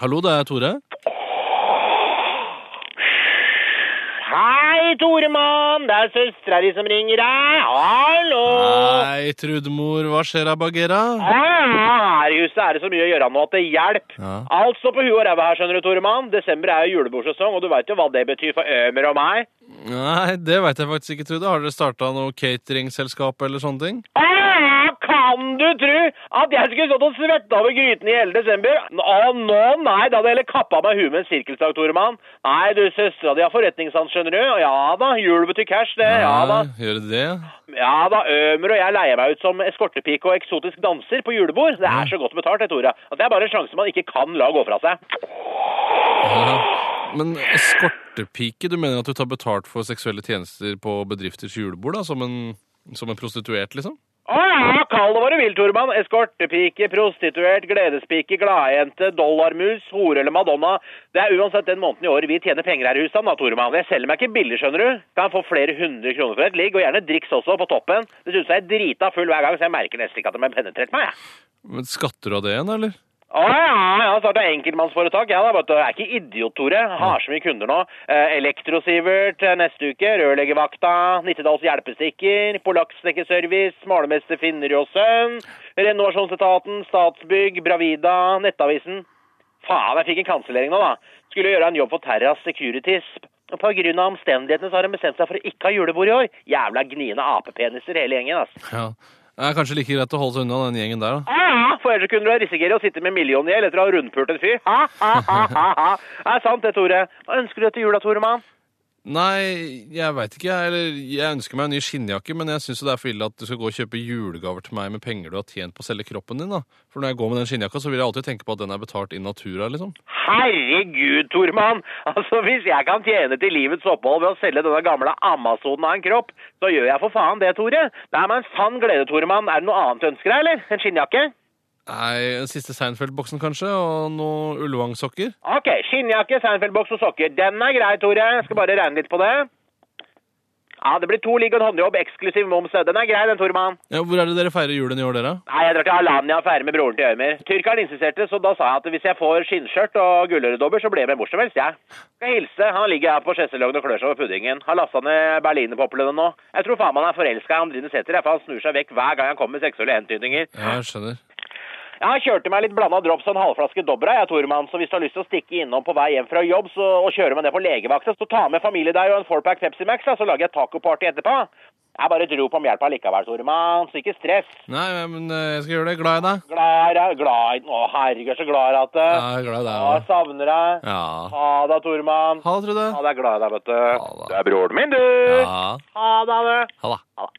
Hallo, det er Tore. Hei, Toremann! Det er søstera di som ringer deg. Hallo! Hei, Trudmor. Hva skjer, Bagheera? Ah, Her i huset er det så mye å gjøre nå at det hjelper. Ja. Alt står på huet og ræva her, skjønner du, Toremann. Desember er jo julebordsesong, og du veit jo hva det betyr for Ømer og meg. Nei, det veit jeg faktisk ikke, Trude. Har dere starta noe cateringselskap eller sånne ting? Ah, kan du tru at jeg skulle stått og svetta over grytene i hele desember? Å, nå, nei, da hadde jeg heller kappa meg huet med en sirkelsag, Toremann. Nei, du, søstera di har forretningssans, skjønner du. Ja da, jul betyr cash, det. Ja da. Nei, Gjør det det? Ja da, Ømer og jeg leier meg ut som eskortepike og eksotisk danser på julebord. Det er så godt betalt, det, Tore. At det er bare en sjanse man ikke kan la gå fra seg. Ja. Men eskortepike, du mener at du tar betalt for seksuelle tjenester på bedrifters julebord, da? Som en, som en prostituert, liksom? Å ja, kall det hva du vil, Tormann. Eskortepike, prostituert, gledespike, gladjente, dollarmus, hore eller madonna. Det er uansett den måneden i året vi tjener penger her i huset, da, Tormann. Jeg selger meg ikke billig, skjønner du. Kan få flere hundre kroner for et ligg, og gjerne driks også, på toppen. Det synes jeg er drita full hver gang, så jeg merker nesten ikke at de har penetrert meg, jeg. Men Skatter du av det igjen, eller? Å ja, jeg har starta enkeltmannsforetak. Jeg, da, vet du. jeg er ikke idiot, Tore. Jeg Har så mye kunder nå. Eh, Elektrosivert eh, neste uke, rørleggervakta, Nittedals hjelpestikker, Polakksnekkerservice, malermester Finnerud og Sønn, Renovasjonsetaten, Statsbygg, Bravida, Nettavisen. Faen, jeg fikk en kansellering nå, da. Skulle gjøre en jobb for Terras Securities. Og På grunn av omstendighetene så har de bestemt seg for å ikke ha julebord i år. Jævla gniende apepeniser hele gjengen, ass. Ja. Det er kanskje like greit å holde seg unna den gjengen der, da. Ah, for ellers kunne du risikere å sitte med milliongjeld etter å ha rundpult en fyr. Ha, ha, ha, ha, ha. Det er sant det, Tore. Hva ønsker du til jula, Toremann? Nei, jeg veit ikke. Jeg, eller, jeg ønsker meg en ny skinnjakke, men jeg syns det er for ille at du skal gå og kjøpe julegaver til meg med penger du har tjent på å selge kroppen din. da. For når jeg går med den skinnjakka, så vil jeg alltid tenke på at den er betalt in natura, liksom. Herregud, Toremann! Altså, hvis jeg kan tjene til livets opphold ved å selge denne gamle Amazonen av en kropp, så gjør jeg for faen det, Tore. Det er meg en sann glede, Toremann. Er det noe annet du ønsker deg, eller? En skinnjakke? Nei, den siste Seinfeld-boksen kanskje, og noen Ullevang-sokker. Ok, skinnjakke, Seinfeld-boks og sokker. Den er grei, Tore. Jeg skal bare regne litt på det. Ja, det blir to ligg og en håndjobb, eksklusiv moms. Den er grei, den, Toremann. Ja, hvor er det dere feirer julen i år, dere? Nei, jeg drar til Alanya og feirer med broren til Øymer. Tyrkeren insisterte, så da sa jeg at hvis jeg får skinnskjørt og gulløredobber, så blir jeg med hvor som helst, jeg. Skal hilse. Han ligger her på skjesselongen og klør seg over puddingen. Har lasta ned berlinerpoplene nå. Jeg tror faen meg han er forelska i Andrine Sæther, jeg, for han snur seg vekk hver gang han kommer med seksuelle hentydninger. Ja, jeg skjønner. Jeg kjørte meg litt blanda drops og en halvflaske Dobra, jeg, Tormann, så hvis du har lyst til å stikke innom på vei hjem fra jobb så, og kjøre med det på legevakta, så ta med familiedeig og en fourpack Pepsi Max, da, så lager jeg tacoparty etterpå. Jeg bare dro på om hjelp allikevel, Tormann, så ikke stress. Nei, men eh, jeg skal gjøre det. Glad i deg. Glad i deg, glad i Å, herregud, jeg er så glad i deg. Ja, at jeg er glad i Ja, deg. også. savner deg. Ja. Ha det, Tormann. Ha det, Trude. Ha deg glad i deg, vet du. da. Du er broren min, du. Ja. Ha det. Ha det. Ha det.